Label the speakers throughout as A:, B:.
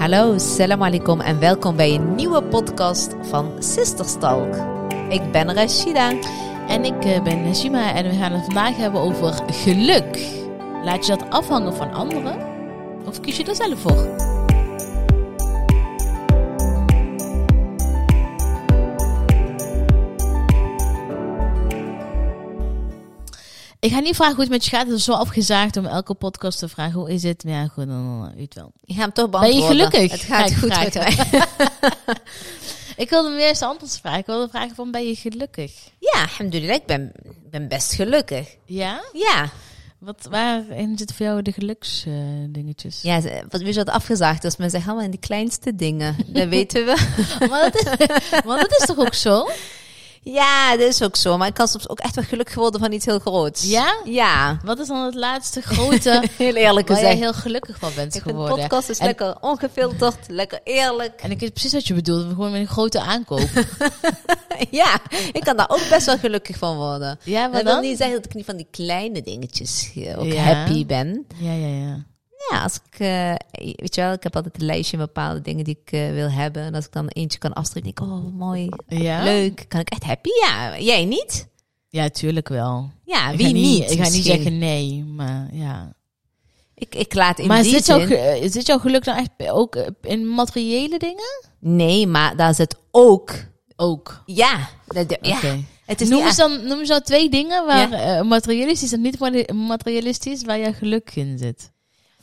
A: Hallo, salam alaikum en welkom bij een nieuwe podcast van Sisterstalk. Ik ben Rashida.
B: En ik eh, ben Najima en we gaan het vandaag hebben over geluk. Laat je dat afhangen van anderen? Of kies je er zelf voor? Ik ga niet vragen hoe het met je gaat. Het is zo afgezaagd om elke podcast te vragen hoe is het. Maar ja, goed, dan eh, u het wel.
A: Ik ga hem toch
B: Ben je
A: beantwoorden.
B: gelukkig?
A: Het
B: Ga
A: gaat
B: ik
A: goed met
B: vragen.
A: mij.
B: Ik wilde hem eerst anders vragen. Ik wilde vragen van ben je gelukkig?
A: Ja, alhamdulillah, ik ben, ben best gelukkig.
B: Ja?
A: Ja,
B: Wat, waarin zitten voor jou de eh, geluksdingetjes?
A: ja ze- wat weer wat afgezaagd is, men zegt allemaal in de kleinste dingen. Dat weten we.
B: maar, dat is, maar dat is toch ook zo?
A: Ja, dat is ook zo. Maar ik kan soms ook echt wel gelukkig worden van iets heel groots.
B: Ja?
A: Ja,
B: Wat is dan het laatste grote
A: heel eerlijk
B: waar jij
A: gezegd.
B: heel gelukkig van bent
A: Ik vind de
B: geworden?
A: podcast is
B: En-
A: lekker ongefilterd, lekker eerlijk.
B: En ik weet precies wat je bedoelt. Gewoon met een grote aankoop.
A: Ja, ik kan daar ook best wel gelukkig van worden.
B: ja,
A: Dat
B: maar
A: wil
B: dan?
A: niet zeggen dat ik niet van die kleine dingetjes eh, ook
B: Ja.
A: happy ben.
B: Ja, ja, ja.
A: Ja, als ik, eh, weet je wel, ik heb altijd een lijstje met bepaalde dingen die ik eh, wil hebben. En als ik dan eentje kan afstrepen, denk ik, oh mooi,
B: Ja?
A: leuk. Kan ik echt happy? Ja, jij niet?
B: Ja, tuurlijk wel.
A: Ja,
B: Ik
A: wie
B: ga
A: niet?
B: Ik ga niet
A: misschien?
B: zeggen nee, maar ja.
A: Ik, ik laat in
B: maar
A: die
B: zit jouw,
A: zin-
B: ge- eh, zit jouw geluk dan echt ook eh, in materiële dingen?
A: Nee, maar daar zit ook...
B: Ook.
A: Ja, dat, dat- ja.
B: Oké.
A: het is
B: Noem,
A: niet
B: eens dan, noem eens dan twee dingen waar eh, materialistisch en niet mate- materialistisch waar jouw geluk in zit.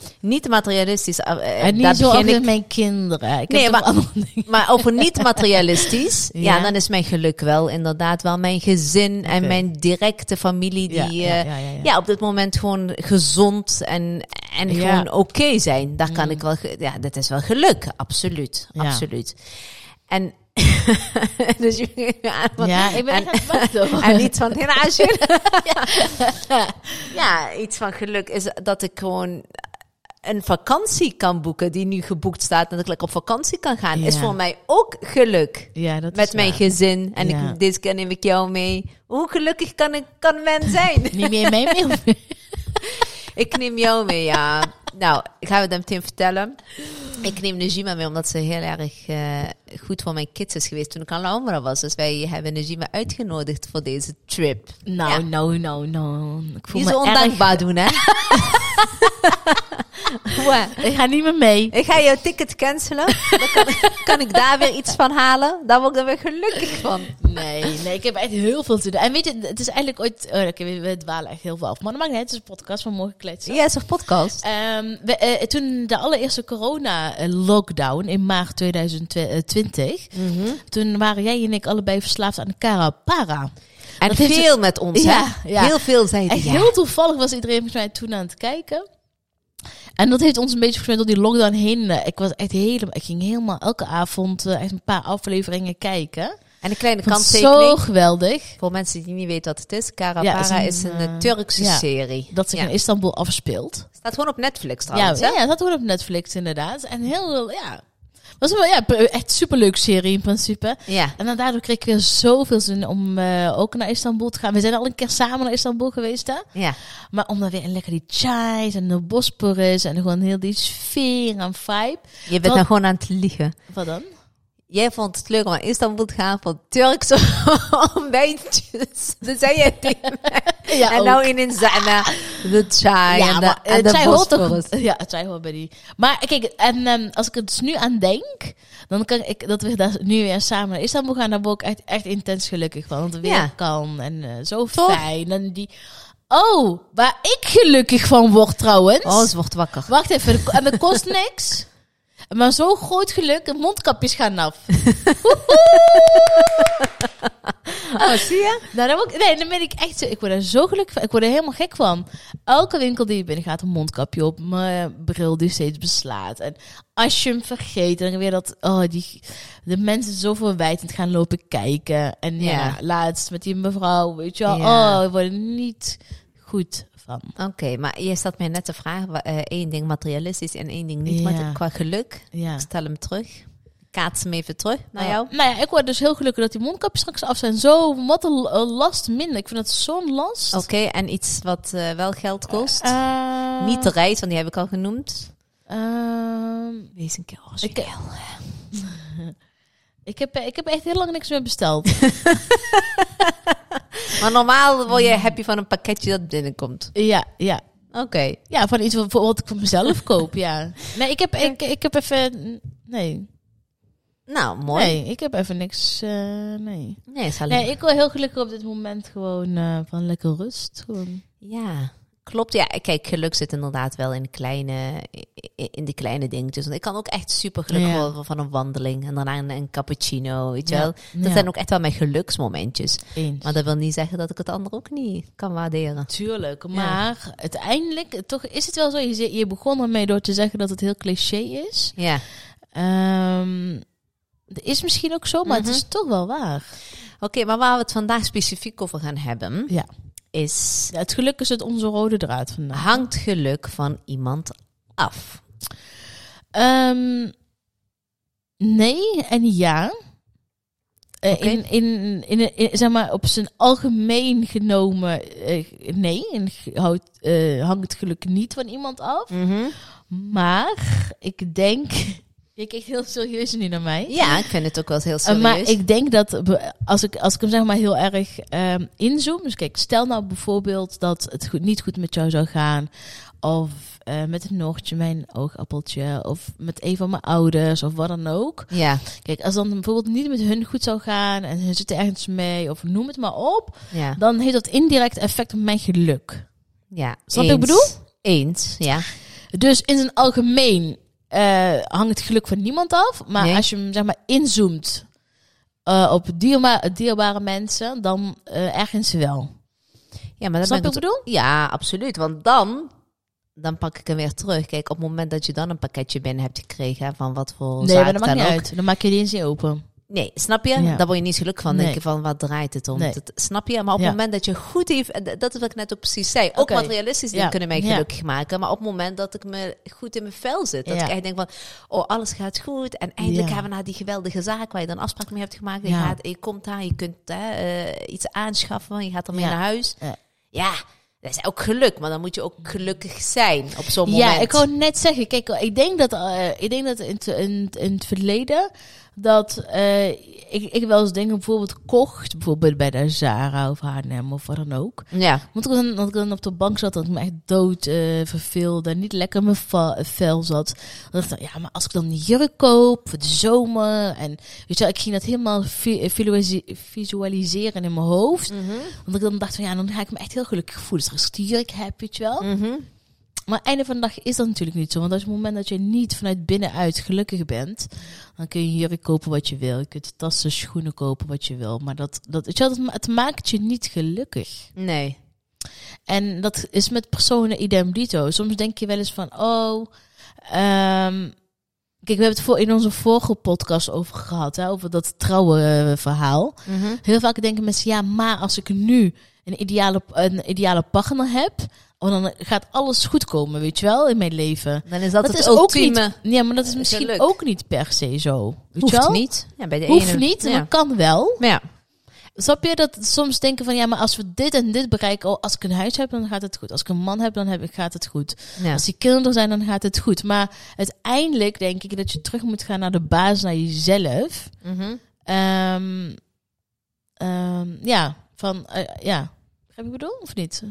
A: echt- niet materialistisch. eh, eh,
B: En
A: daar
B: niet zo
A: begin
B: ook
A: ik
B: met mijn kinderen. Ik
A: Nee,
B: heb
A: maar-
B: toch allemaal dingen.
A: Maar over niet-materialistisch, ja.
B: Ja.
A: dan is mijn geluk wel inderdaad wel mijn gezin en
B: Oké.
A: mijn directe familie die
B: Ja,
A: eh,
B: ja,
A: ja,
B: ja, ja, ja.
A: op dit moment gewoon gezond en, en
B: Ja. Mm.
A: gewoon oké zijn. Daar kan ik wel, ge- ja, dat is wel geluk, absoluut,
B: Ja.
A: absoluut. En dus je ging aan van-
B: ja, ik ben
A: en,
B: echt aan het wachten.
A: en iets van helaas. ja, iets van geluk is dat ik gewoon een vakantie kan boeken die nu geboekt staat en dat ik lekker op vakantie kan gaan, is
B: Ja.
A: voor mij ook geluk.
B: Ja, dat
A: Met
B: is
A: mijn
B: waar.
A: gezin en
B: Ja.
A: ik, deze keer neem ik jou mee. Hoe gelukkig kan, ik, kan men zijn?
B: Niet meer mee mee.
A: ik neem jou mee, ja. Nou, ik ga het hem meteen vertellen. Ik neem Najima mee omdat ze heel erg eh, goed voor mijn kids is geweest toen ik al Omer was. Dus wij hebben Najima uitgenodigd voor deze trip.
B: Nou,
A: Ja.
B: nou, nou, nou. Ik voel
A: Niet
B: me
A: zo
B: erg.
A: ondankbaar doen, hè? Wat?
B: Ik ga niet meer mee.
A: Ik ga jouw ticket cancelen. Dan kan, kan ik daar weer iets van halen. Daar word ik dan weer gelukkig van.
B: Nee, nee, ik heb echt heel veel te doen. En weet je, het is eigenlijk ooit... Oh, Oké, we, we dwalen echt heel veel af. Maar dat maakt niet uit, het is een podcast van morgen kletsen.
A: Ja, is een podcast.
B: Ehm, we, eh, toen de allereerste corona-lockdown in maart 2020... Toen waren jij en ik allebei verslaafd aan de Carapara.
A: En
B: dat heeft dus
A: veel met ons,
B: Ja,
A: hè?
B: ja.
A: Heel veel zeiden
B: Echt
A: ja.
B: heel toevallig was iedereen volgens mij toen aan het kijken. En dat heeft ons een beetje volgens mij door die lockdown heen. eh, Ik was echt helemaal, ik ging helemaal elke avond eh, echt een paar afleveringen kijken.
A: En een kleine
B: Ik vond het
A: kanttekening.
B: zo geweldig
A: Voor mensen die niet weten wat het is. Carapara
B: Ja, is
A: is
B: een,
A: een,
B: eh,
A: Turkse
B: ja,
A: serie.
B: dat zich
A: Ja.
B: in Istanbul afspeelt.
A: Staat gewoon op Netflix
B: Ja,
A: trouwens, hè?
B: ja, dat hoort op Netflix inderdaad. En heel, ja, was wel ja, pre- echt superleuk serie in principe.
A: Ja.
B: En dan daardoor kreeg ik weer zoveel zin om eh, ook naar Istanbul te gaan. We zijn al een keer samen naar Istanbul geweest, hè?
A: ja.
B: Maar om dan weer lekker die chais en de bosporus en gewoon heel die sfeer en vibe.
A: Je bent
B: Wat-
A: nou gewoon aan het liegen.
B: Wat dan?
A: Jij vond het leuk om naar Istanbul te gaan voor Turkse ontbijtjes. Dat zei je tegen mij.
B: Ja,
A: en nou in Inzana, de chai
B: ja,
A: en de,
B: maar,
A: en
B: eh,
A: de
B: chai hoort toch-
A: Bosporus.
B: Ja, chai hoort bij die. Maar kijk, en ehm, als ik het dus nu aan denk, dan kan ik dat we daar nu weer samen naar Istanbul gaan. Daar word ik echt, echt intens gelukkig van. Want het weer
A: Ja.
B: kan en eh, zo
A: Toch?
B: fijn. En die... Oh, waar ik gelukkig van word trouwens.
A: Oh, ze wordt wakker.
B: Wacht even, de ko- en dat kost niks. Maar zo'n groot geluk, de mondkapjes gaan af.
A: Oh, zie je?
B: Nou, dan, word ik- nee, dan ben ik echt zo. Ik word er zo gelukkig van. Ik word er helemaal gek van. Elke winkel die je binnen gaat, een mondkapje op. Mijn bril die steeds beslaat. En als je hem vergeet, dan weer dat. Oh, die, de mensen zo verwijtend gaan lopen kijken. En ja,
A: Ja.
B: laatst met die mevrouw. Weet je wel.
A: Ja.
B: Oh, ik word er niet goed van.
A: Oké, maar je staat mij net te vragen. wa- eh, één ding materialistisch en één ding niet.
B: Ja.
A: Maar qua geluk,
B: Ja.
A: ik stel hem terug. Kaats hem even terug naar jou.
B: Nou ja, ik word dus heel gelukkig dat die mondkapjes straks af zijn. Zo, wat een eh, last minder. Ik vind dat zo'n last.
A: Oké, en iets wat eh, wel geld kost.
B: Eh,
A: niet de reis, want die heb ik al genoemd.
B: ehm, ehm,
A: Wees een keer
B: Ik, ik, heb, eh, ik heb echt heel lang niks meer besteld.
A: Maar normaal word
B: Mm.
A: je happy van een pakketje dat binnenkomt.
B: ja, ja.
A: Oké.
B: Ja, van iets wat, wat ik voor mezelf koop, ja. Nee, ik heb, ik, ik heb even... Nee.
A: Nou, mooi. Nee,
B: nee, ik heb even niks... eh, nee.
A: is alleen.
B: Nee, ik wil heel gelukkig op dit moment gewoon eh, van lekker rust. Gewoon.
A: Ja, klopt. Ja, kijk, geluk zit inderdaad wel in kleine, in de kleine dingetjes. Want ik kan ook echt super gelukkig
B: Ja.
A: worden van een wandeling en daarna een, een cappuccino, weet je
B: Ja,
A: wel. Dat
B: ja.
A: zijn ook echt wel mijn geluksmomentjes.
B: Eens.
A: Maar dat wil niet zeggen dat ik het ander ook niet kan waarderen.
B: Tuurlijk, maar uiteindelijk toch is het wel zo. Je, ze- je begon ermee door te zeggen dat het heel cliché is.
A: Ja,
B: Ehm, dat is misschien ook zo, maar het is toch wel waar.
A: oké, maar waar we het vandaag specifiek over gaan hebben,
B: Ja.
A: is
B: Ja, het geluk is het onze rode draad vandaag.
A: hangt geluk van iemand af?
B: Ehm, nee en ja. Eh,
A: Oké.
B: in, in, in, in- zeg maar, op zijn algemeen genomen, eh, nee, en ge- houdt, eh, hangt het geluk niet van iemand af. Maar ik denk, je kijkt heel serieus nu naar mij.
A: Ja, ik vind het ook wel heel
B: Eh,
A: serieus.
B: maar ik denk dat be- als ik, als ik hem zeg maar heel erg ehm, inzoom. Dus kijk, stel nou bijvoorbeeld dat het goed, niet goed met jou zou gaan. Of eh, met een noortje, mijn oogappeltje. Of met een van mijn ouders of wat dan ook.
A: Ja,
B: Kijk, als dan bijvoorbeeld niet met hun goed zou gaan. En hun zitten ergens mee. Of noem het maar op.
A: ja,
B: Dan heeft dat indirect effect op mijn geluk.
A: ja.
B: Snap je wat ik bedoel?
A: Eens, ja.
B: Dus in zijn algemeen eh, hangt het geluk van niemand af. Maar
A: Nee.
B: als je hem zeg maar inzoomt eh, op dierba dierbare mensen, dan eh, ergens wel.
A: Ja, maar dat
B: Snap
A: ben
B: je wat ik bedoel?
A: Ja, absoluut. Want dan, dan pak ik hem weer terug. Kijk, op het moment dat je dan een pakketje binnen hebt gekregen, hè, van wat voor
B: Nee,
A: zaak
B: maar dat maakt
A: dan
B: niet
A: ook.
B: uit. Dan maak je die eens niet open.
A: Nee, snap je?
B: Ja.
A: Daar word je niet gelukkig van.
B: Nee.
A: Denk je van, wat draait het om?
B: Nee.
A: Dat, snap je? Maar op
B: Ja.
A: het moment dat je goed heeft, en d- dat is wat ik net ook precies zei. Ook
B: Oké.
A: materialistisch dingen
B: Ja.
A: kunnen mij
B: Ja.
A: gelukkig maken. Maar op het moment dat ik me goed in mijn vel zit, dat
B: Ja.
A: ik echt denk van, oh, alles gaat goed. En eindelijk
B: Ja.
A: gaan we naar die geweldige zaak waar je dan afspraak mee hebt gemaakt. Je,
B: Ja.
A: gaat, je komt daar, je kunt hè, eh, iets aanschaffen, je gaat ermee
B: Ja.
A: naar huis.
B: Ja.
A: Ja, dat is ook geluk, maar dan moet je ook gelukkig zijn op zo'n moment.
B: Ja, ik wou net zeggen. Kijk, ik denk dat, eh, ik denk dat in, het- in, het- in het verleden dat eh, ik, ik wel eens dingen bijvoorbeeld kocht. Bijvoorbeeld bij de Zara of H&M of wat dan ook.
A: Ja,
B: Want ik dan, dat ik dan op de bank zat, dat ik me echt dood eh, verveelde. en Niet lekker in mijn va- vel zat. Dan dacht ik, ja, maar als ik dan een jurk koop voor de zomer. En weet je wel, ik ging dat helemaal vi- visualise- visualiseren in mijn hoofd. Want ik dan dacht van, ja, dan ga ik me echt heel gelukkig voelen. Dus als ik die jurk heb, weet je wel.
A: Mhm.
B: Maar einde van de dag is dat natuurlijk niet zo. Want als het moment dat je niet vanuit binnenuit gelukkig bent, dan kun je jurk kopen wat je wil. Je kunt tassen, schoenen kopen wat je wil. Maar dat, dat, weet je wel, dat ma- het maakt je niet gelukkig.
A: nee.
B: En dat is met personen idem dito. Soms denk je wel eens van, oh... ehm, kijk, we hebben het voor, in onze vorige podcast over gehad, hè, over dat trouwen eh, verhaal. Heel vaak denken mensen, ja, maar als ik nu een ideale, een ideale partner heb... oh, dan gaat alles goed komen, weet je wel, in mijn leven.
A: Dan is dat, het
B: is
A: ultieme.
B: ook niet... Ja, maar dat is misschien
A: geluk.
B: ook niet per se zo. Weet je
A: Hoeft
B: wel?
A: niet. Ja, bij de
B: Hoeft
A: ene-
B: niet, maar
A: Ja.
B: kan wel.
A: Maar ja.
B: Snap je dat soms denken van ja, maar als we dit en dit bereiken, oh, als ik een huis heb, dan gaat het goed. Als ik een man heb, dan heb ik, gaat het goed.
A: Ja.
B: Als die kinderen zijn, dan gaat het goed. Maar uiteindelijk denk ik dat je terug moet gaan naar de baas, naar jezelf.
A: Mhm.
B: Ehm, ehm, ja, van eh, ja. Heb ik bedoel of niet?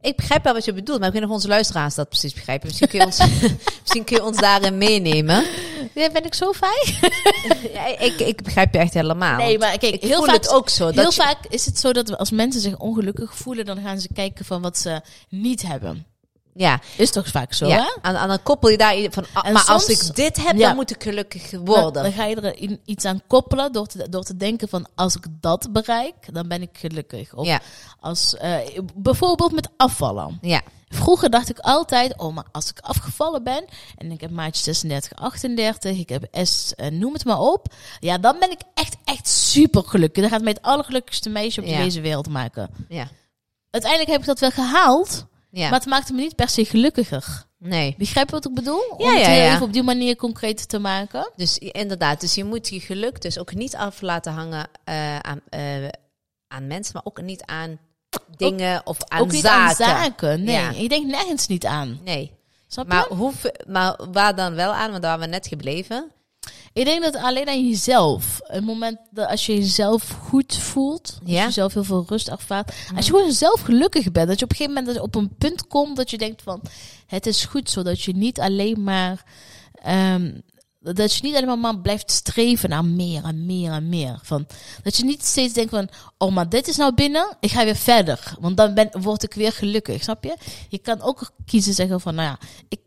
A: Ik begrijp wel wat je bedoelt, maar ik weet niet of onze luisteraars dat precies begrijpen. Misschien kun je ons, misschien kun je ons daarin meenemen.
B: Ja, ben ik zo fijn?
A: Ja, ik, ik begrijp je echt helemaal. Nou,
B: Nee,
A: want
B: maar kijk,
A: ik
B: heel
A: voel
B: vaak
A: het ook zo.
B: Heel
A: Dat je-
B: vaak is het zo dat we- als mensen zich ongelukkig voelen, dan gaan ze kijken van wat ze niet hebben.
A: ja,
B: Is toch vaak zo, hè?
A: ja. En, en dan koppel je daar i- van, ah,
B: En
A: maar als
B: soms-
A: ik dit heb,
B: Ja.
A: dan moet ik gelukkig
B: Dan,
A: worden.
B: dan ga je er i- iets aan koppelen door te, door te denken van als ik dat bereik, dan ben ik gelukkig. Of
A: Ja.
B: als, eh, bijvoorbeeld met afvallen.
A: ja,
B: Vroeger dacht ik altijd, oh maar als ik afgevallen ben en ik heb maatje 36, 38, ik heb S, eh, noem het maar op. Ja, dan ben ik echt, echt super gelukkig. Dan gaat mij het allergelukkigste meisje op
A: Ja.
B: deze wereld maken.
A: ja,
B: Uiteindelijk heb ik dat wel gehaald,
A: ja.
B: maar het maakte me niet per se gelukkiger.
A: nee.
B: Begrijp je wat ik bedoel? Om
A: Ja,
B: het
A: ja,
B: heel
A: ja.
B: even op die manier concreet te maken.
A: Dus i- inderdaad, dus je moet je geluk dus ook niet af laten hangen eh, aan, eh, aan mensen, maar ook niet aan dingen of aan
B: ook niet
A: zaken.
B: aan zaken. Nee,
A: Ja.
B: ik denk nergens niet aan.
A: Nee.
B: Snap je?
A: Maar, hoe, maar waar dan wel aan? Want daar waren we net gebleven.
B: Ik denk dat alleen aan jezelf. Het moment dat als je jezelf goed voelt, als
A: Ja.
B: je zelf heel veel rust ervaart, als je gewoon zelf gelukkig bent, dat je op een gegeven moment dat je op een punt komt dat je denkt van, het is goed zo, dat je niet alleen maar, ehm, dat je niet alleen maar blijft streven naar meer en meer en meer. Van, dat je niet steeds denkt van, oh maar dit is nou binnen, ik ga weer verder, want dan ben, word ik weer gelukkig, snap je? Je kan ook kiezen zeggen van, nou ja, ik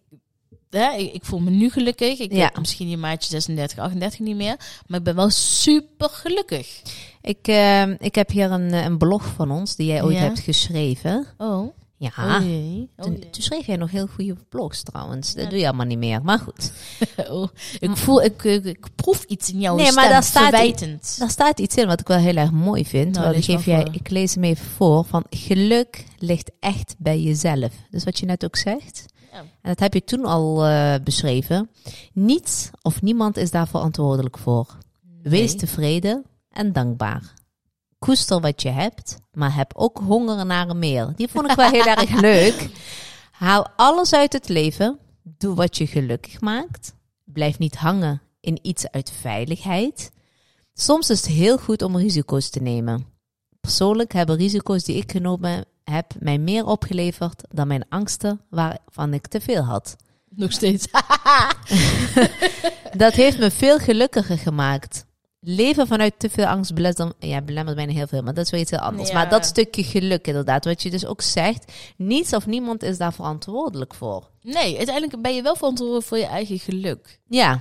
B: hè, ik, ik voel me nu gelukkig. Ik
A: Ja.
B: heb misschien die maatje 36, 38 niet meer. Maar ik ben wel super gelukkig.
A: Ik, ehm, ik heb hier een, eh, een blog van ons die jij ooit
B: Ja.
A: hebt geschreven.
B: Oh,
A: Ja.
B: oh jee. Oh,
A: Toen, toen schreef jij nog heel goede blogs trouwens. Dat doe je allemaal niet meer, maar goed.
B: jee. Oh, Ik voel, ik, ik, ik proef iets in jouw
A: Nee, maar
B: stem,
A: daar staat-
B: verwijtend.
A: Daar staat iets in wat ik wel heel erg mooi vind.
B: Nou,
A: want ik,
B: lees maar
A: geef jij,
B: voor.
A: ik lees hem even voor. Van geluk ligt echt bij jezelf. Dus wat je net ook zegt.
B: Ja.
A: En dat heb je toen al eh, beschreven. Niets of niemand is daar verantwoordelijk voor. Wees
B: Nee.
A: tevreden en dankbaar. Koester wat je hebt, maar heb ook honger naar meer. Die vond ik wel heel erg leuk. Haal alles uit het leven. Doe wat je gelukkig maakt. Blijf niet hangen in iets uit veiligheid. Soms is het heel goed om risico's te nemen. Persoonlijk hebben risico's die ik genomen heb mij meer opgeleverd dan mijn angsten waarvan ik te veel had.
B: Nog steeds.
A: Dat heeft me veel gelukkiger gemaakt. Leven vanuit te veel angst belemmert, ja, belemmert bijna heel veel, maar dat is weer iets heel anders.
B: Ja.
A: Maar dat stukje geluk inderdaad, wat je dus ook zegt, niets of niemand is daar verantwoordelijk voor.
B: nee, uiteindelijk ben je wel verantwoordelijk voor je eigen geluk.
A: Ja,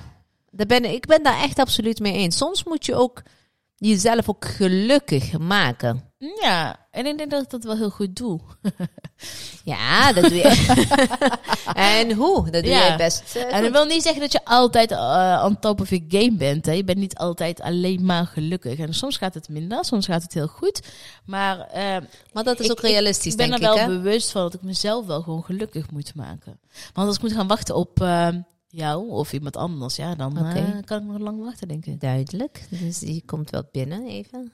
A: daar ben, ik- ik ben daar echt absoluut mee eens. Soms moet je ook jezelf ook gelukkig maken.
B: Ja, en ik denk dat ik dat wel heel goed doe.
A: Ja, dat doe je. en hoe? Dat doe
B: Ja.
A: jij best. eh,
B: En dat
A: goed.
B: wil niet zeggen dat je altijd eh on top of your game bent. Hè. Je bent niet altijd alleen maar gelukkig. En soms gaat het minder, soms gaat het heel goed. Maar eh,
A: maar dat is
B: Ik-
A: ook
B: ik-
A: realistisch,
B: Ik ben
A: denk
B: er
A: ik.
B: wel
A: hè?
B: bewust van dat ik mezelf wel gewoon gelukkig moet maken. Want als ik moet gaan wachten op eh, jou of iemand anders, ja, dan eh,
A: Oké.
B: kan ik nog lang wachten, denk ik.
A: Duidelijk. Dus die komt wel binnen even.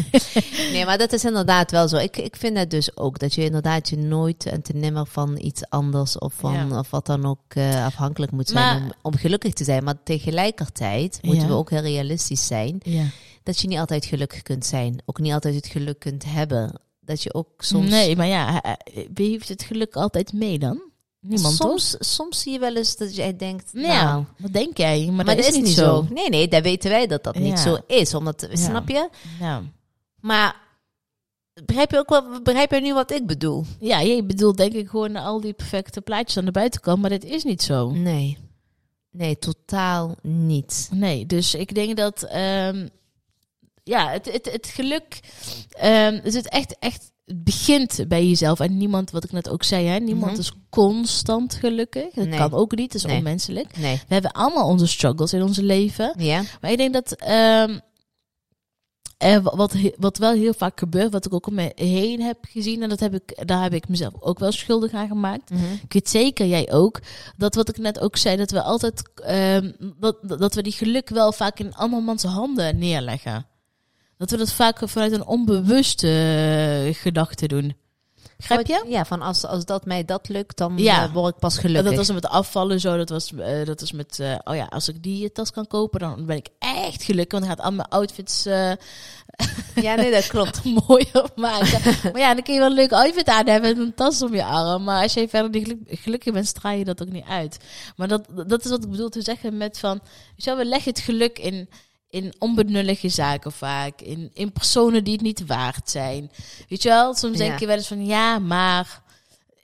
A: nee, maar dat is inderdaad wel zo. Ik, ik vind het dus ook dat je inderdaad je nooit en te nimmer van iets anders of van
B: Ja.
A: of wat dan ook eh, afhankelijk moet zijn
B: Maar-
A: om, om gelukkig te zijn. Maar tegelijkertijd moeten
B: Ja.
A: we ook heel realistisch zijn
B: Ja.
A: dat je niet altijd gelukkig kunt zijn. Ook niet altijd het geluk kunt hebben. Dat je ook soms.
B: Nee, maar ja, eh, eh, wie heeft het geluk altijd mee dan? Niemand, toch?
A: soms, soms zie je wel eens dat jij denkt.
B: Ja,
A: nou,
B: wat denk jij? Maar,
A: maar,
B: dat, is, niet zo.
A: Nee, nee, daar weten wij dat dat niet
B: Ja.
A: zo is. Omdat,
B: Ja.
A: snap je?
B: Ja.
A: Maar begrijp je ook wel, begrijp je nu wat ik bedoel?
B: ja, je bedoelt denk ik gewoon al die perfecte plaatjes aan de buitenkant, maar dat is niet zo.
A: Nee. Nee, totaal niet.
B: Nee, dus ik denk dat. ehm, ja, het, het, het geluk. ehm het, is echt, echt, het begint bij jezelf. En niemand, wat ik net ook zei, hè, niemand
A: Mhm.
B: is constant gelukkig. Dat
A: Nee.
B: kan ook niet, dat is
A: Nee.
B: onmenselijk.
A: Nee.
B: We hebben allemaal onze struggles in ons leven.
A: Ja?
B: Maar ik denk dat. ehm, eh, wa- wat, he- wat wel heel vaak gebeurt, wat ik ook om me heen heb gezien, en dat heb ik, daar heb ik mezelf ook wel schuldig aan gemaakt.
A: Mhm.
B: Ik weet zeker, jij ook, dat wat ik net ook zei, dat we altijd, ehm, dat, dat we die geluk wel vaak in andermans handen neerleggen. Dat we dat vaak vanuit een onbewuste eh, gedachte doen. Begrijp je?
A: Ja, van als, als dat mij dat lukt, dan
B: Ja.
A: eh, word ik pas gelukkig.
B: Dat was met afvallen zo, dat was, eh, dat was met, eh, oh ja, als ik die tas kan kopen, dan ben ik echt gelukkig, want dan gaat al mijn outfits... eh,
A: Ja, nee, dat klopt.
B: mooier maken. maar ja, dan kun je wel een leuk outfit aan hebben en een tas om je arm. Maar als je verder niet geluk- gelukkig bent, straal je dat ook niet uit. Maar dat, dat is wat ik bedoel te zeggen met van... weet je wel, we leggen het geluk in, in onbenullige zaken vaak. In, in personen die het niet waard zijn. Weet je wel, soms
A: Ja.
B: denk je wel eens van... Ja, maar...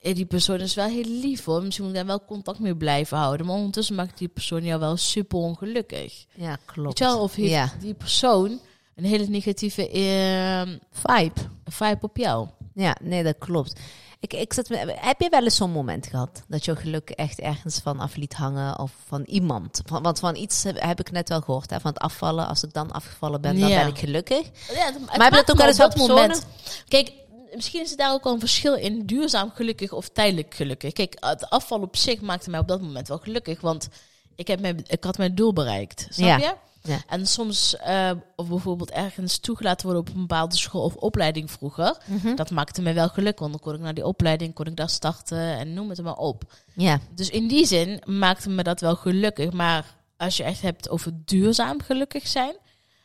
B: eh, Die persoon is wel heel lief hoor. Misschien moet ik daar wel contact mee blijven houden. Maar ondertussen maakt die persoon jou wel super ongelukkig.
A: Ja,
B: Weet
A: klopt.
B: je wel, of heeft
A: Ja.
B: die persoon een hele negatieve ehm,
A: Vibe.
B: vibe op jou.
A: Ja, nee, dat klopt. Ik, ik zat, me- heb je wel eens zo'n moment gehad dat je geluk echt ergens van af liet hangen of van iemand? Van, want van iets heb, heb ik net wel gehoord, hè, van het afvallen. Als ik dan afgevallen ben, dan
B: Ja.
A: ben ik gelukkig.
B: Ja, het- het
A: Maar heb je
B: maakt
A: dat ook
B: me
A: wel eens wat
B: op Kijk, misschien is er daar ook al een verschil in duurzaam gelukkig of tijdelijk gelukkig. Kijk, het afval op zich maakte mij op dat moment wel gelukkig, want ik, heb mijn, ik had mijn doel bereikt. Snap
A: Ja.
B: je?
A: Ja.
B: En soms, eh, of bijvoorbeeld ergens toegelaten worden op een bepaalde school of opleiding vroeger.
A: Mhm.
B: Dat maakte me wel gelukkig, want dan kon ik naar die opleiding, kon ik daar starten en noem het maar op.
A: Ja.
B: Dus in die zin maakte me dat wel gelukkig. Maar als je echt hebt over duurzaam gelukkig zijn,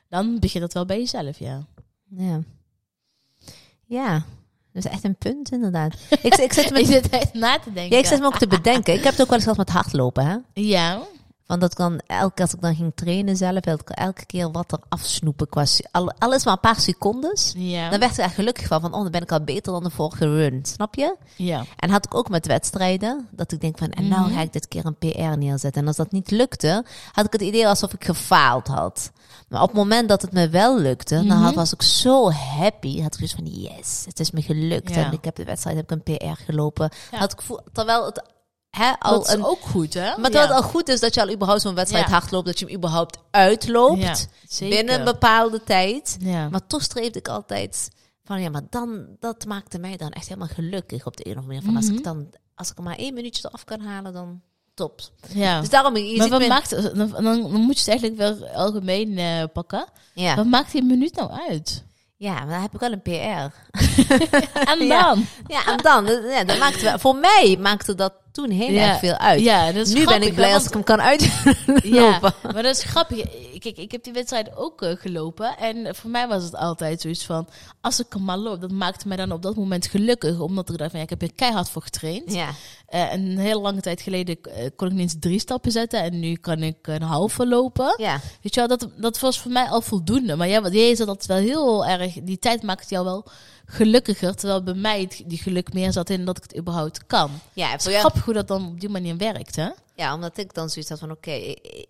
B: dan begint dat wel bij jezelf, ja.
A: Ja. Ja. Dat is echt een punt, inderdaad. ik, ik zit
B: Ik
A: me,
B: zit echt na te denken.
A: ja, ik zit me ook te bedenken. Ik heb het ook wel eens gehad met hardlopen, hè.
B: Ja,
A: Want dat kan elke keer als ik dan ging trainen zelf, wilde ik elke keer wat er afsnoepen. Qua, se- al, alles maar een paar secondes. Dan
B: ja,
A: werd ik er echt gelukkig van, van oh, dan ben ik al beter dan de vorige run, snap je?
B: ja.
A: En had ik ook met wedstrijden, dat ik denk van, en nou
B: Mhm.
A: ga ik dit keer een PR neerzetten. En als dat niet lukte, had ik het idee alsof ik gefaald had. Maar op het moment dat het me wel lukte, dan
B: Mhm.
A: had, was ik zo happy. Had ik dus van, yes, het is me gelukt.
B: Ja.
A: En ik heb de wedstrijd, heb ik een PR gelopen.
B: Ja.
A: Had ik voel, terwijl het hè, al
B: Dat is
A: een
B: ook goed, hè?
A: maar dat het al goed is dat je al überhaupt zo'n wedstrijd
B: Ja.
A: hardloopt, dat je hem überhaupt uitloopt
B: Ja, zeker.
A: binnen een bepaalde tijd.
B: Ja.
A: Maar toch streefde ik altijd van ja, maar dan, dat maakte mij dan echt helemaal gelukkig op de een of andere manier. Van als
B: Mhm.
A: ik dan, als ik er maar één minuutje eraf kan halen, dan top.
B: ja.
A: Dus daarom, je
B: maar
A: ziet
B: wat
A: me-
B: maakt, dan, dan dan moet je het eigenlijk wel algemeen eh, pakken.
A: ja.
B: Wat maakt die minuut nou uit?
A: ja, maar dan heb ik wel een PR.
B: En dan?
A: Ja. Ja, en dan, dat- ja, dat maakte wel- voor mij maakte dat toen heel
B: Ja.
A: erg veel uit.
B: Ja, dat
A: nu
B: is
A: ben
B: grappig,
A: ik blij
B: hè,
A: als ik hem kan uitlopen.
B: Ja, maar dat is grappig. Kijk, ik heb die wedstrijd ook eh, gelopen. En voor mij was het altijd zoiets van... Als ik hem maar loop, dat maakte mij dan op dat moment gelukkig. Omdat ik dacht van, ja, ik heb hier keihard voor getraind.
A: Ja.
B: Eh, een hele lange tijd geleden eh, kon ik niet eens drie stappen zetten. En nu kan ik een halve lopen.
A: Ja.
B: Weet je wel, dat, dat was voor mij al voldoende. Maar ja, wat jij zat dat wel heel erg... Die tijd maakte jou wel gelukkiger. Terwijl bij mij het- die geluk meer zat in dat ik het überhaupt kan.
A: Oh ja,
B: Het
A: voor
B: is
A: jou,
B: grappig hoe dat dan op die manier werkt, hè?
A: Ja, omdat ik dan zoiets had van, oké, eh, eh,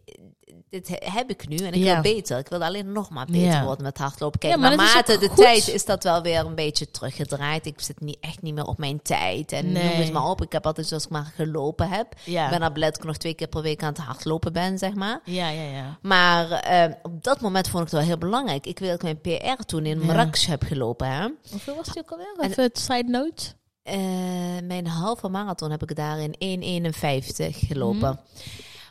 A: dit he- heb ik nu en ik
B: Ja.
A: wil beter. Ik wil alleen nog maar beter
B: Ja.
A: worden met hardlopen. Kijk,
B: Ja, maar dat is
A: naarmate
B: ook
A: de
B: goed.
A: tijd is dat wel weer een beetje teruggedraaid. Ik zit niet, echt niet meer op mijn tijd en noem
B: Nee.
A: het maar op. Ik heb altijd zoals ik maar gelopen heb.
B: Ja.
A: Ik ben naar blij dat ik nog twee keer per week aan het hardlopen ben, zeg maar.
B: Ja, ja, ja.
A: Maar eh, op dat moment vond ik het wel heel belangrijk. Ik wil dat ik mijn PR toen in
B: Ja.
A: Marrakesh heb gelopen. Hè?
B: Hoeveel was die ook alweer?
A: En-
B: Even het side note.
A: Eh, mijn halve marathon heb ik daar in 1,51 gelopen.
B: Mhm.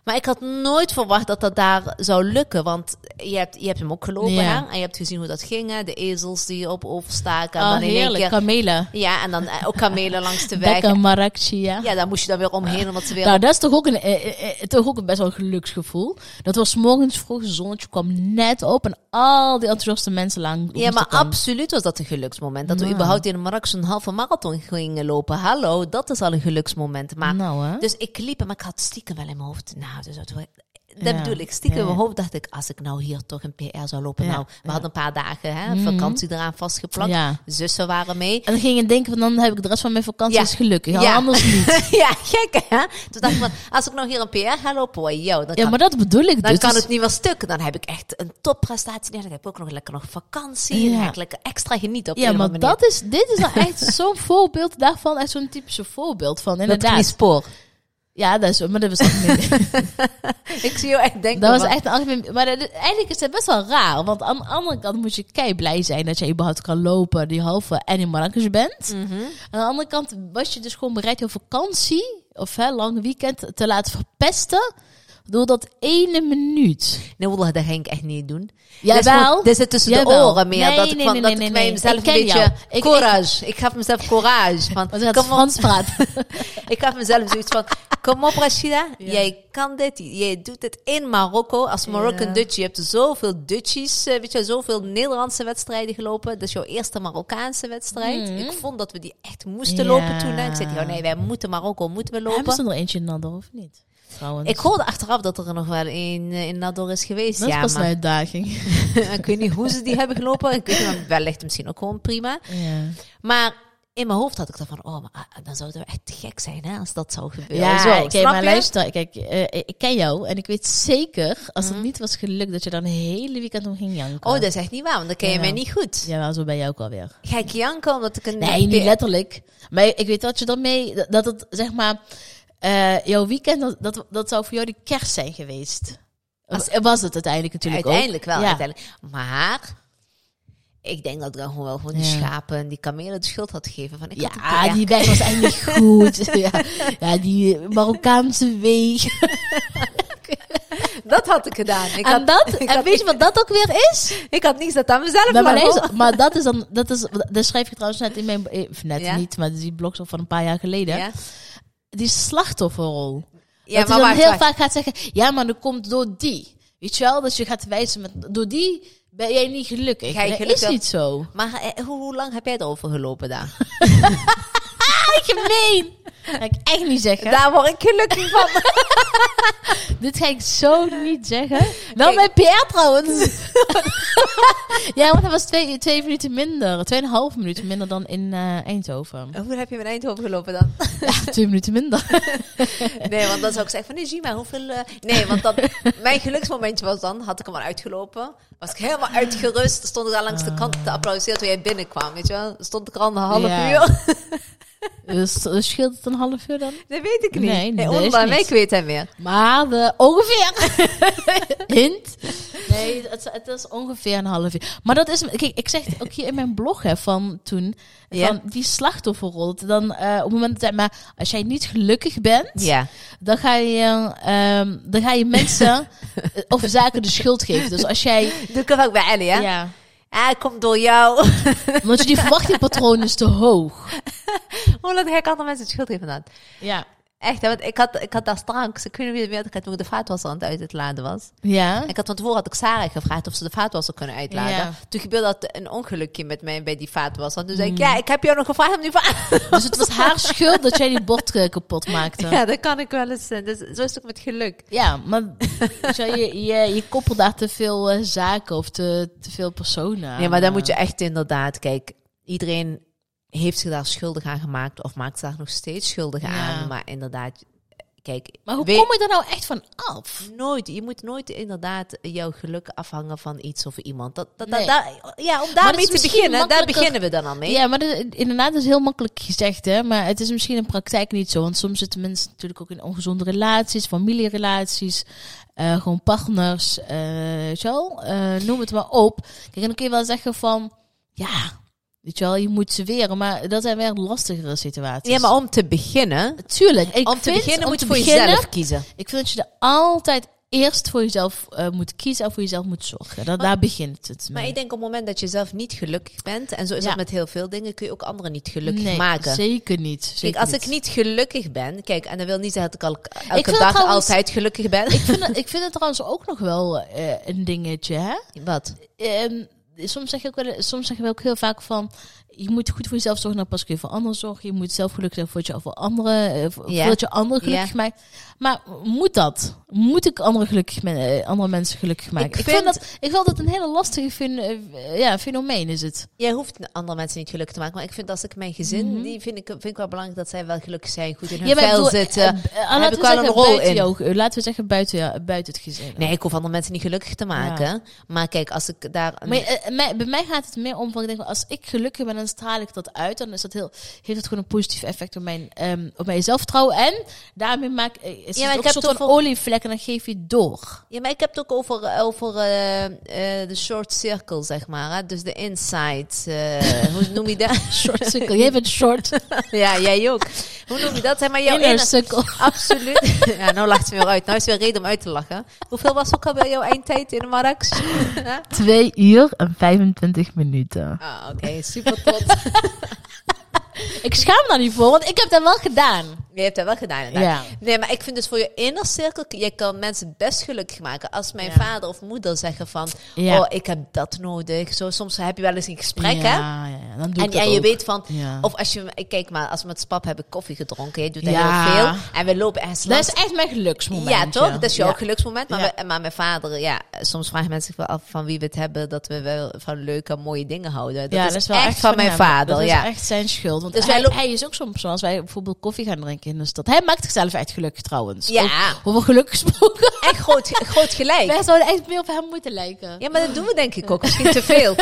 A: Maar ik had nooit verwacht dat dat daar zou lukken. Want je hebt, je hebt hem ook gelopen.
B: Ja.
A: Hè? En je hebt gezien hoe dat ging. Hè? De ezels die op overstaken. En
B: Ah,
A: dan in één
B: heerlijk.
A: keer-
B: Kamelen.
A: ja, en dan eh, ook kamelen langs de weg.
B: Lekker Maracchia.
A: Ja, daar moest je dan weer omheen. Omdat ze weer...
B: Nou, dat is toch ook, een, eh, eh, eh, toch ook een best wel een geluksgevoel. Dat was 's morgens vroeg, het zonnetje kwam net op en al die enthousiaste mensen lang.
A: ja, maar absoluut was dat een geluksmoment. Dat we
B: Nou.
A: überhaupt in Marrakesh een halve marathon gingen lopen. Hallo, dat is al een geluksmoment. Maar
B: Nou, hè?
A: Dus ik liep, maar ik had stiekem wel in mijn hoofd. Nou, dus dat, dat
B: Ja,
A: bedoel ik. Stiekem
B: ja,
A: in
B: ja.
A: mijn hoofd dacht ik, als ik nou hier toch een PR zou lopen.
B: Ja,
A: nou, we
B: ja.
A: hadden een paar dagen hè,
B: Mhm.
A: vakantie eraan vastgeplakt.
B: Ja.
A: Zussen waren mee.
B: En dan ging je denken, van, dan heb ik de rest van mijn vakantie
A: Ja.
B: is gelukkig. Ja.
A: Ja.
B: Anders niet.
A: ja, gek hè? Toen dacht ik, van, als ik nou hier een PR ga lopen, wow, yo, dan,
B: Ja,
A: kan,
B: maar dat bedoel ik dus.
A: dan kan
B: Dus-
A: het niet meer stuk. Dan heb ik echt een topprestatie. Ja, dan heb ik ook nog lekker nog vakantie. Dan
B: Ja.
A: ga ik lekker extra genieten op
B: ja,
A: een of
B: maar
A: andere manier.
B: dat is, dit is nou echt zo'n voorbeeld daarvan. Echt zo'n typische voorbeeld van, inderdaad.
A: Dat spoor.
B: Ja, dat is, maar dat was niet.
A: Ik zie jou echt denken.
B: Dat was
A: van-
B: echt een algemeen. Maar dat- eigenlijk is dat best wel raar. Want aan de andere kant moet je kei blij zijn dat je überhaupt kan lopen, die halve en in Marrakesh bent.
A: Mhm.
B: Aan de andere kant was je dus gewoon bereid je vakantie of hè, lang weekend te laten verpesten. Door dat ene minuut.
A: Nee, wallah, dat ging ik echt niet doen.
B: Jawel.
A: Dit is gewoon- Dit zit tussen de
B: Jawel.
A: oren meer.
B: Nee,
A: dat ik,
B: nee,
A: van,
B: nee,
A: dat
B: nee,
A: ik
B: nee, nee.
A: mezelf
B: Ik
A: een
B: ken
A: beetje...
B: jou. Ik- ik-
A: courage. Ik, gaf mezelf courage. Van,
B: Want je gaat
A: kom op,
B: Frans praten.
A: ik gaf mezelf zoiets van... Kom op, Rashida.
B: Ja.
A: Jij kan dit. Jij doet dit in Marokko. Als Moroccan
B: Ja.
A: Dutch. Je hebt zoveel Dutchies. eh, Weet je, zoveel Nederlandse wedstrijden gelopen. Dat is jouw eerste Marokkaanse wedstrijd.
B: Mhm.
A: Ik vond dat we die echt moesten
B: Ja.
A: lopen toen. hè. Ik zei, joh, nee, wij moeten Marokko. Moeten we
B: Hebben
A: lopen?
B: ze er nog eentje in Nador of niet? Trouwens.
A: Ik hoorde achteraf dat er nog wel een eh, in Nador is geweest.
B: dat
A: ja,
B: was
A: maar-
B: een uitdaging.
A: ik weet niet hoe ze die hebben gelopen. Ik weet niet, maar wellicht misschien ook gewoon prima.
B: Ja.
A: Maar in mijn hoofd had ik dan van, oh, maar ah, dan zou het wel echt te gek zijn hè, als dat zou gebeuren.
B: Ja,
A: Zo,
B: oké,
A: snap
B: maar
A: je?
B: luister, kijk, eh, ik ken jou en ik weet zeker, als het niet was gelukt, dat je dan een hele weekend om ging janken.
A: Mhm. Oh, dat is echt niet waar, want dan ken je
B: Ja.
A: mij niet goed.
B: Jawel, zo ben jij ook alweer.
A: Ga ik janken omdat ik een...
B: Nee, niet letterlijk. Maar ik weet dat je dan mee, dat- dat het zeg maar, eh, jouw weekend, dat, dat, dat zou voor jou de kerst zijn geweest.
A: Als-
B: was het uiteindelijk natuurlijk
A: Uiteindelijk
B: ook.
A: wel, uiteindelijk. Maar ik denk dat ik dan gewoon wel gewoon die
B: Ja.
A: schapen en die kamelen de schuld had gegeven. Van, ik had een
B: Ja,
A: PR.
B: die weg was eigenlijk goed. Ja, ja die Marokkaanse weeg.
A: Dat had ik gedaan. Ik
B: en
A: had,
B: dat,
A: ik
B: en
A: had
B: weet je wat dat ook weer is?
A: Ik had niets dat aan mezelf
B: Maar,
A: lag.
B: maar, nee,
A: hoor.
B: zo- maar dat is dan, dat is, dat schrijf ik trouwens net in mijn, eh, of net
A: Ja.
B: niet, maar die blog van een paar jaar geleden.
A: Ja,
B: Die slachtofferrol.
A: ja
B: dat
A: maar
B: je dan
A: wacht,
B: heel
A: wacht.
B: vaak gaat zeggen, ja, maar dat komt door die. Weet je wel, dat je gaat wijzen met, door die ben jij niet gelukkig.
A: Ga je
B: dat
A: gelukkig-
B: is niet zo.
A: Maar eh, hoe, hoe lang heb jij erover gelopen daar?
B: Gemeen! Dat ga ik echt niet zeggen.
A: Daar word ik gelukkig van.
B: Dit ga ik zo niet zeggen.
A: Kijk.
B: Wel mijn PR trouwens. ja, want dat was twee, twee minuten minder. Tweeënhalf minuten minder dan in eh, Eindhoven.
A: hoe Oh, heb je in Eindhoven gelopen dan?
B: twee minuten minder.
A: Nee, want dan zou ik zeggen van, nee, zie maar hoeveel... eh, Nee, want dat, mijn geluksmomentje was dan, had ik hem al uitgelopen. Was ik helemaal uitgerust, stond ik daar langs de kant te applaudisseren toen jij binnenkwam, weet je wel. Stond ik al een half
B: Ja.
A: uur.
B: Dus eh, scheelt het een half uur dan?
A: Dat weet ik niet.
B: Nee, dat is
A: onder aan
B: niet.
A: mij weet hij meer.
B: Maar de, ongeveer. Hint. Nee, het, het is ongeveer een half uur. Maar dat is. Kijk, ik zeg het ook hier in mijn blog hè, van toen.
A: Ja.
B: Van die slachtofferrol. Dan eh, op het moment dat. Maar als jij niet gelukkig bent.
A: Ja.
B: Dan ga je, ehm, dan ga je mensen. eh, of zaken de schuld geven. Dus als jij.
A: Doe ik hem ook bij Ellie, hè?
B: Ja.
A: Ah, komt door jou.
B: Omdat je die verwachtingpatroon is te hoog.
A: Hoe lang ga ik andere mensen het schuld geven dan?
B: Ja.
A: Echt, hè, want ik had, ik had daar straks, ik weet niet meer wie het meer had, toen ik de vaatwasser aan het uit het laden was.
B: Ja.
A: Ik had van tevoren had ik Sarah gevraagd of ze de vaatwasser kunnen uitladen.
B: Ja.
A: Toen gebeurde dat een ongelukje met mij bij die vaatwasser. Toen zei
B: Mm.
A: ik, ja, ik heb jou nog gevraagd om die vaat...
B: Dus het was haar schuld dat jij die bord eh, kapot maakte.
A: Ja, dat kan ik wel eens. eh, Dus zo is het ook met geluk.
B: Ja, maar zo, je, je, je koppelt daar te veel eh, zaken of te, te veel personen aan.
A: Nee, maar dan
B: eh.
A: moet je echt inderdaad, kijk, iedereen heeft zich daar schuldig aan gemaakt of maakt zich daar nog steeds schuldig
B: Ja.
A: aan. Maar inderdaad, kijk,
B: Maar hoe
A: weet-
B: kom je daar nou echt van af?
A: Nooit, je moet nooit inderdaad jouw geluk afhangen van iets of iemand. Dat, dat,
B: Nee.
A: dat- daar- ja, om
B: Maar dat is
A: daarmee te
B: misschien
A: beginnen, daar
B: makkelijker-
A: beginnen we dan al mee.
B: Ja, maar dat- inderdaad, dat is heel makkelijk gezegd, hè. Maar het is misschien in praktijk niet zo. Want soms zitten mensen natuurlijk ook in ongezonde relaties, familierelaties, eh, gewoon partners, eh zo, eh, noem het maar op. Kijk, en dan kun je wel zeggen van, ja, weet je wel, je moet ze weren. Maar dat zijn weer lastigere situaties.
A: Ja, maar om te beginnen,
B: Tuurlijk. Ik
A: om te
B: vind,
A: beginnen
B: om
A: moet je
B: te
A: voor
B: beginnen-
A: jezelf kiezen.
B: Ik vind dat je er altijd eerst voor jezelf eh, moet kiezen en voor jezelf moet zorgen. Dat, daar begint het mee.
A: Maar ik denk op het moment dat je zelf niet gelukkig bent, en zo is
B: Ja.
A: dat met heel veel dingen, kun je ook anderen niet gelukkig
B: nee,
A: maken.
B: zeker niet. Zeker
A: Kijk, als ik niet gelukkig ben, kijk, en dat wil niet zeggen dat ik al, elke
B: vind
A: dag
B: trouwens-
A: altijd gelukkig ben.
B: Ik vind, het, ik vind het trouwens ook nog wel eh, een dingetje, hè?
A: Wat?
B: Ehm, soms, zeg je ook wel, soms zeggen we ook heel vaak van... Je moet goed voor jezelf zorgen, dan pas kun je voor anderen zorgen. Je moet zelf gelukkig zijn voordat je voor anderen, eh, vo-
A: Ja.
B: voordat je anderen gelukkig
A: Ja.
B: maakt. Maar moet dat? Moet ik anderen gelukkig men- eh, andere mensen gelukkig maken? Ik, vind...
A: vind-
B: dat, ik vind dat een hele lastige fen- eh, ja, fenomeen is het.
A: Jij hoeft andere mensen niet gelukkig te maken, maar ik vind als ik mijn gezin, die vind ik, vind ik wel belangrijk dat zij wel gelukkig zijn, goed in hun
B: maar ik
A: vel
B: bedoel,
A: zitten.
B: eh, eh,
A: heb
B: laten
A: ik
B: we
A: wel
B: zeggen
A: een rol
B: buiten
A: in.
B: jou- eh, laten we zeggen buiten, jou- buiten het gezin.
A: Nee, ik hoef andere mensen niet gelukkig te maken. Maar kijk, als ik daar.
B: Maar eh, eh, mij- bij mij gaat het meer om van ik denk, als ik gelukkig ben, dan straal ik dat uit. Dan is dat heel, heeft het gewoon een positief effect op mijn, ehm, op mijn zelfvertrouwen. En daarmee maak eh, is
A: maar
B: het
A: ik
B: ook een
A: heb
B: soort
A: toch
B: van
A: wel-
B: olievlek en dan geef je het door.
A: Ja, maar ik heb het ook over, over eh, eh, de short circle, zeg maar. Hè? Dus de insight. eh, hoe noem je dat?
B: Short sukkel. Jij bent short.
A: ja, jij ook. Hoe noem je dat? Zeg maar jouw
B: Inner
A: inner...
B: sukkel.
A: Absoluut. Ja, nou lacht ze weer uit. Nou is weer reden om uit te lachen. Hoeveel was ook al bij jouw eindtijd in de Marrakesh?
B: Twee uur en 25 minuten.
A: Ah, oké. super tot.
B: Ik schaam me daar niet voor, want ik heb dat wel gedaan.
A: Je hebt dat wel gedaan inderdaad.
B: Ja.
A: Nee, maar ik vind dus voor je inner cirkel, je kan mensen best gelukkig maken. Als mijn
B: Ja.
A: vader of moeder zeggen van,
B: Ja.
A: oh, ik heb dat nodig. Zo, soms heb je wel eens een gesprek, hè?
B: ja, ja, ja, dan doe
A: En,
B: ik dat
A: en je
B: ook.
A: weet van,
B: Ja.
A: of als je, kijk maar, als we met Spap hebben koffie gedronken, je doet dat
B: Ja.
A: heel veel. En we lopen ergens
B: Dat
A: langs.
B: is echt mijn geluksmoment.
A: ja, toch? Dat is jouw
B: Ja.
A: geluksmoment. Maar,
B: Ja.
A: we- maar mijn vader, ja, soms vragen mensen zich wel af van wie we het hebben, dat we wel van leuke, mooie dingen houden. Dat,
B: ja,
A: is, echt van, mijn
B: hem.
A: vader,
B: Dat
A: ja.
B: is echt zijn schuld. Want
A: Dus
B: hij,
A: wij lo-
B: hij is ook soms, als wij bijvoorbeeld koffie gaan drinken in de stad. Hij maakt zichzelf echt gelukkig trouwens.
A: Ja.
B: Over- Over geluk gesproken.
A: Echt groot, groot gelijk.
B: Wij zouden echt meer op hem moeten lijken.
A: Ja, maar dat doen we denk ik ook. Misschien te veel.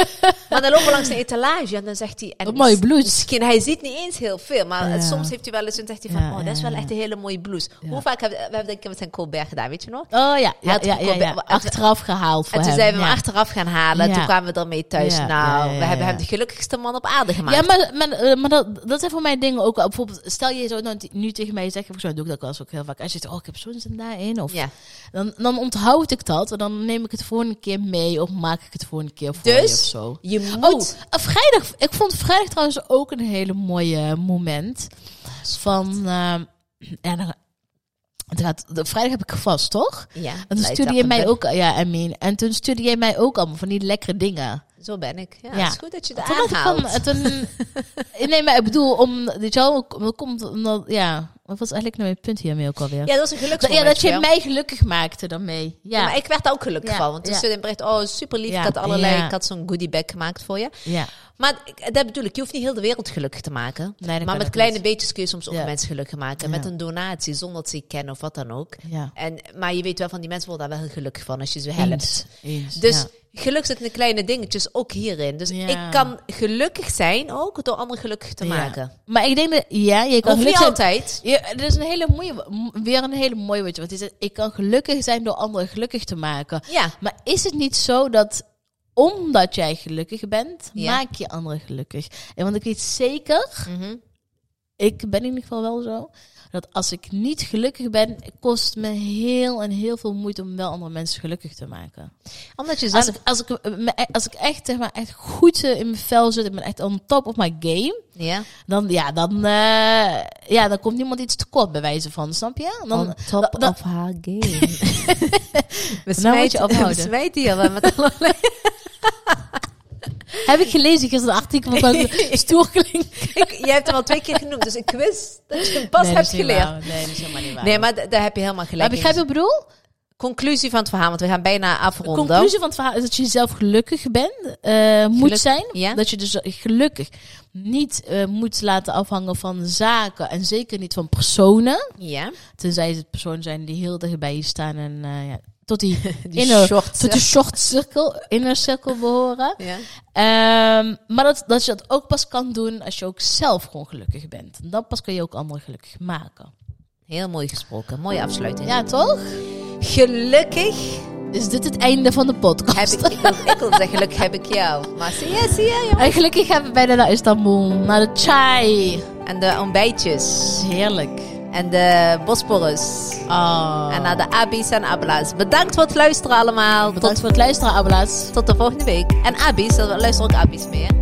A: Maar dan lopen we langs een etalage en dan zegt hij... En
B: Wat mooie blouse.
A: Misschien, hij ziet niet eens heel veel. Maar
B: Ja.
A: soms heeft hij wel eens en zegt hij van...
B: Ja,
A: oh, dat is
B: ja,
A: wel
B: ja.
A: echt een hele mooie blouse. Hoe vaak hebben we hebben dat een keer met zijn Colbert gedaan, weet je nog?
B: Oh ja, ja,
A: had
B: ja,
A: ook
B: ja,
A: al-
B: ja.
A: wat-
B: achteraf gehaald voor
A: En toen
B: hem.
A: zijn we hem
B: ja.
A: achteraf gaan halen.
B: Ja.
A: Toen kwamen we ermee thuis.
B: Ja,
A: nou,
B: ja, ja,
A: we hebben
B: ja.
A: hem de gelukkigste man op aarde gemaakt.
B: Ja, maar, maar, eh, maar dat, dat zijn voor mij dingen ook. Bijvoorbeeld, stel je zou nou- nu nu tegen mij zegt, volgens mij doe ik dat wel eens ook heel vaak. Als je zegt, oh, ik heb zo'n zin daarin. Of,
A: Ja.
B: dan, dan onthoud ik dat. En dan neem ik het voor een keer mee. Of maak ik het voor een keer voor je
A: Dus?
B: of zo.
A: Je
B: Oh,
A: moet.
B: t- eh, vrijdag. Ik vond vrijdag trouwens ook een hele mooie moment. Van, ehm, ja, dan- het gaat, de, vrijdag heb ik gevast, toch?
A: ja,
B: En toen
A: leidt
B: stuurde
A: daar
B: je
A: een
B: mij
A: bed-
B: ook, ja, I mean, en toen stuurde jij mij ook allemaal van die lekkere dingen.
A: Zo ben ik. Ja,
B: Ja.
A: Het is goed dat je dat
B: Toen dacht ik
A: aanhaalt.
B: van, eh, toen, nee, maar ik bedoel, om, weet je wel, dat komt omdat, ja, wat was eigenlijk nou mijn punt hiermee ook alweer?
A: Ja, dat is een
B: Dat-
A: geluksmoment.
B: ja, dat je
A: wel.
B: mij gelukkig maakte daarmee.
A: Ja,
B: Ja,
A: maar ik werd daar ook gelukkig
B: Ja,
A: van. Want toen
B: ja.
A: stuurde een bericht, oh super lief,
B: Ja,
A: ik had allerlei,
B: ja.
A: ik had zo'n goodie bag gemaakt voor je.
B: ja.
A: Maar ik- dat bedoel ik, je hoeft niet heel de wereld gelukkig te maken.
B: Nee, dat kan
A: maar met
B: ook
A: kleine
B: niet.
A: beetjes kun je soms ook
B: Ja.
A: mensen gelukkig maken.
B: Ja.
A: Met een donatie, zonder dat ze je kennen of wat dan ook.
B: Ja.
A: En, maar je weet wel van, die mensen worden daar wel heel gelukkig van als je ze helpt.
B: Eens, eens,
A: Dus
B: ja.
A: geluk zit in de kleine dingetjes, ook hierin. Dus
B: Ja.
A: ik kan gelukkig zijn ook door anderen gelukkig te
B: Ja.
A: maken.
B: Maar ik denk dat, ja, je kan
A: Of niet
B: gelukkig zijn-
A: altijd.
B: Ja, er is een hele mooie, m- weer een hele mooie, weet je wat is het? Ik kan gelukkig zijn door anderen gelukkig te maken.
A: Ja,
B: Maar is het niet zo dat omdat jij gelukkig bent,
A: Ja.
B: maak je anderen gelukkig? En want ik weet zeker,
A: Mhm.
B: ik ben in ieder geval wel zo, dat als ik niet gelukkig ben, kost het me heel en heel veel moeite om wel andere mensen gelukkig te maken.
A: omdat je zelf...
B: Als ik, als ik, eh, me- als ik echt, zeg maar, echt goed eh, in mijn vel zit, ik ben echt on top of my game.
A: ja.
B: Dan, ja, dan, eh, ja, dan komt niemand iets tekort bij wijze van, snap je? Dan,
A: On top
B: dan-
A: of haar game. we
B: Nou moet je
A: smijten, we
B: ophouden.
A: smijten hier wel met allerlei...
B: heb ik gelezen gisteren een artikel van stoer klinkt.
A: Ik- Jij hebt hem al twee keer genoemd, dus ik wist dat je hem pas
B: Nee, dat
A: hebt
B: is niet
A: geleerd.
B: waar. Nee, dat is helemaal niet waar.
A: Nee, maar d- daar heb je helemaal
B: maar
A: gelijk
B: begrijp je
A: in.
B: wat ik bedoel?
A: Conclusie van het verhaal, want we gaan bijna
B: De
A: afronden.
B: conclusie van het verhaal is dat je zelf gelukkig bent, eh, moet zijn.
A: ja.
B: Dat je dus gelukkig niet eh, moet laten afhangen van zaken en zeker niet van personen.
A: Ja,
B: Tenzij het personen zijn die heel dicht bij je staan en eh, ja, tot die,
A: die
B: inner,
A: shorts.
B: tot die short cirkel, inner cirkel behoren.
A: Ja.
B: Ehm, maar dat, dat je dat ook pas kan doen als je ook zelf gewoon gelukkig bent. En dan pas kan je ook anderen gelukkig maken.
A: Heel mooi gesproken, mooie afsluiting.
B: Ja, toch?
A: Gelukkig
B: Is dit het einde van de
A: heb
B: podcast?
A: ik, ik wil, ik wil zeggen, gelukkig heb ik jou. Maar zie je, zie je, jongen.
B: En gelukkig gaan we bijna naar Istanbul, naar de chai.
A: En de ontbijtjes.
B: Heerlijk.
A: En de Bosporus.
B: Oh.
A: En naar de Abis en Abla's. Bedankt voor het luisteren allemaal.
B: Bedankt
A: Tot,
B: voor het luisteren, Abelaas.
A: tot de volgende week. En Abis, er luisteren ook Abis meer.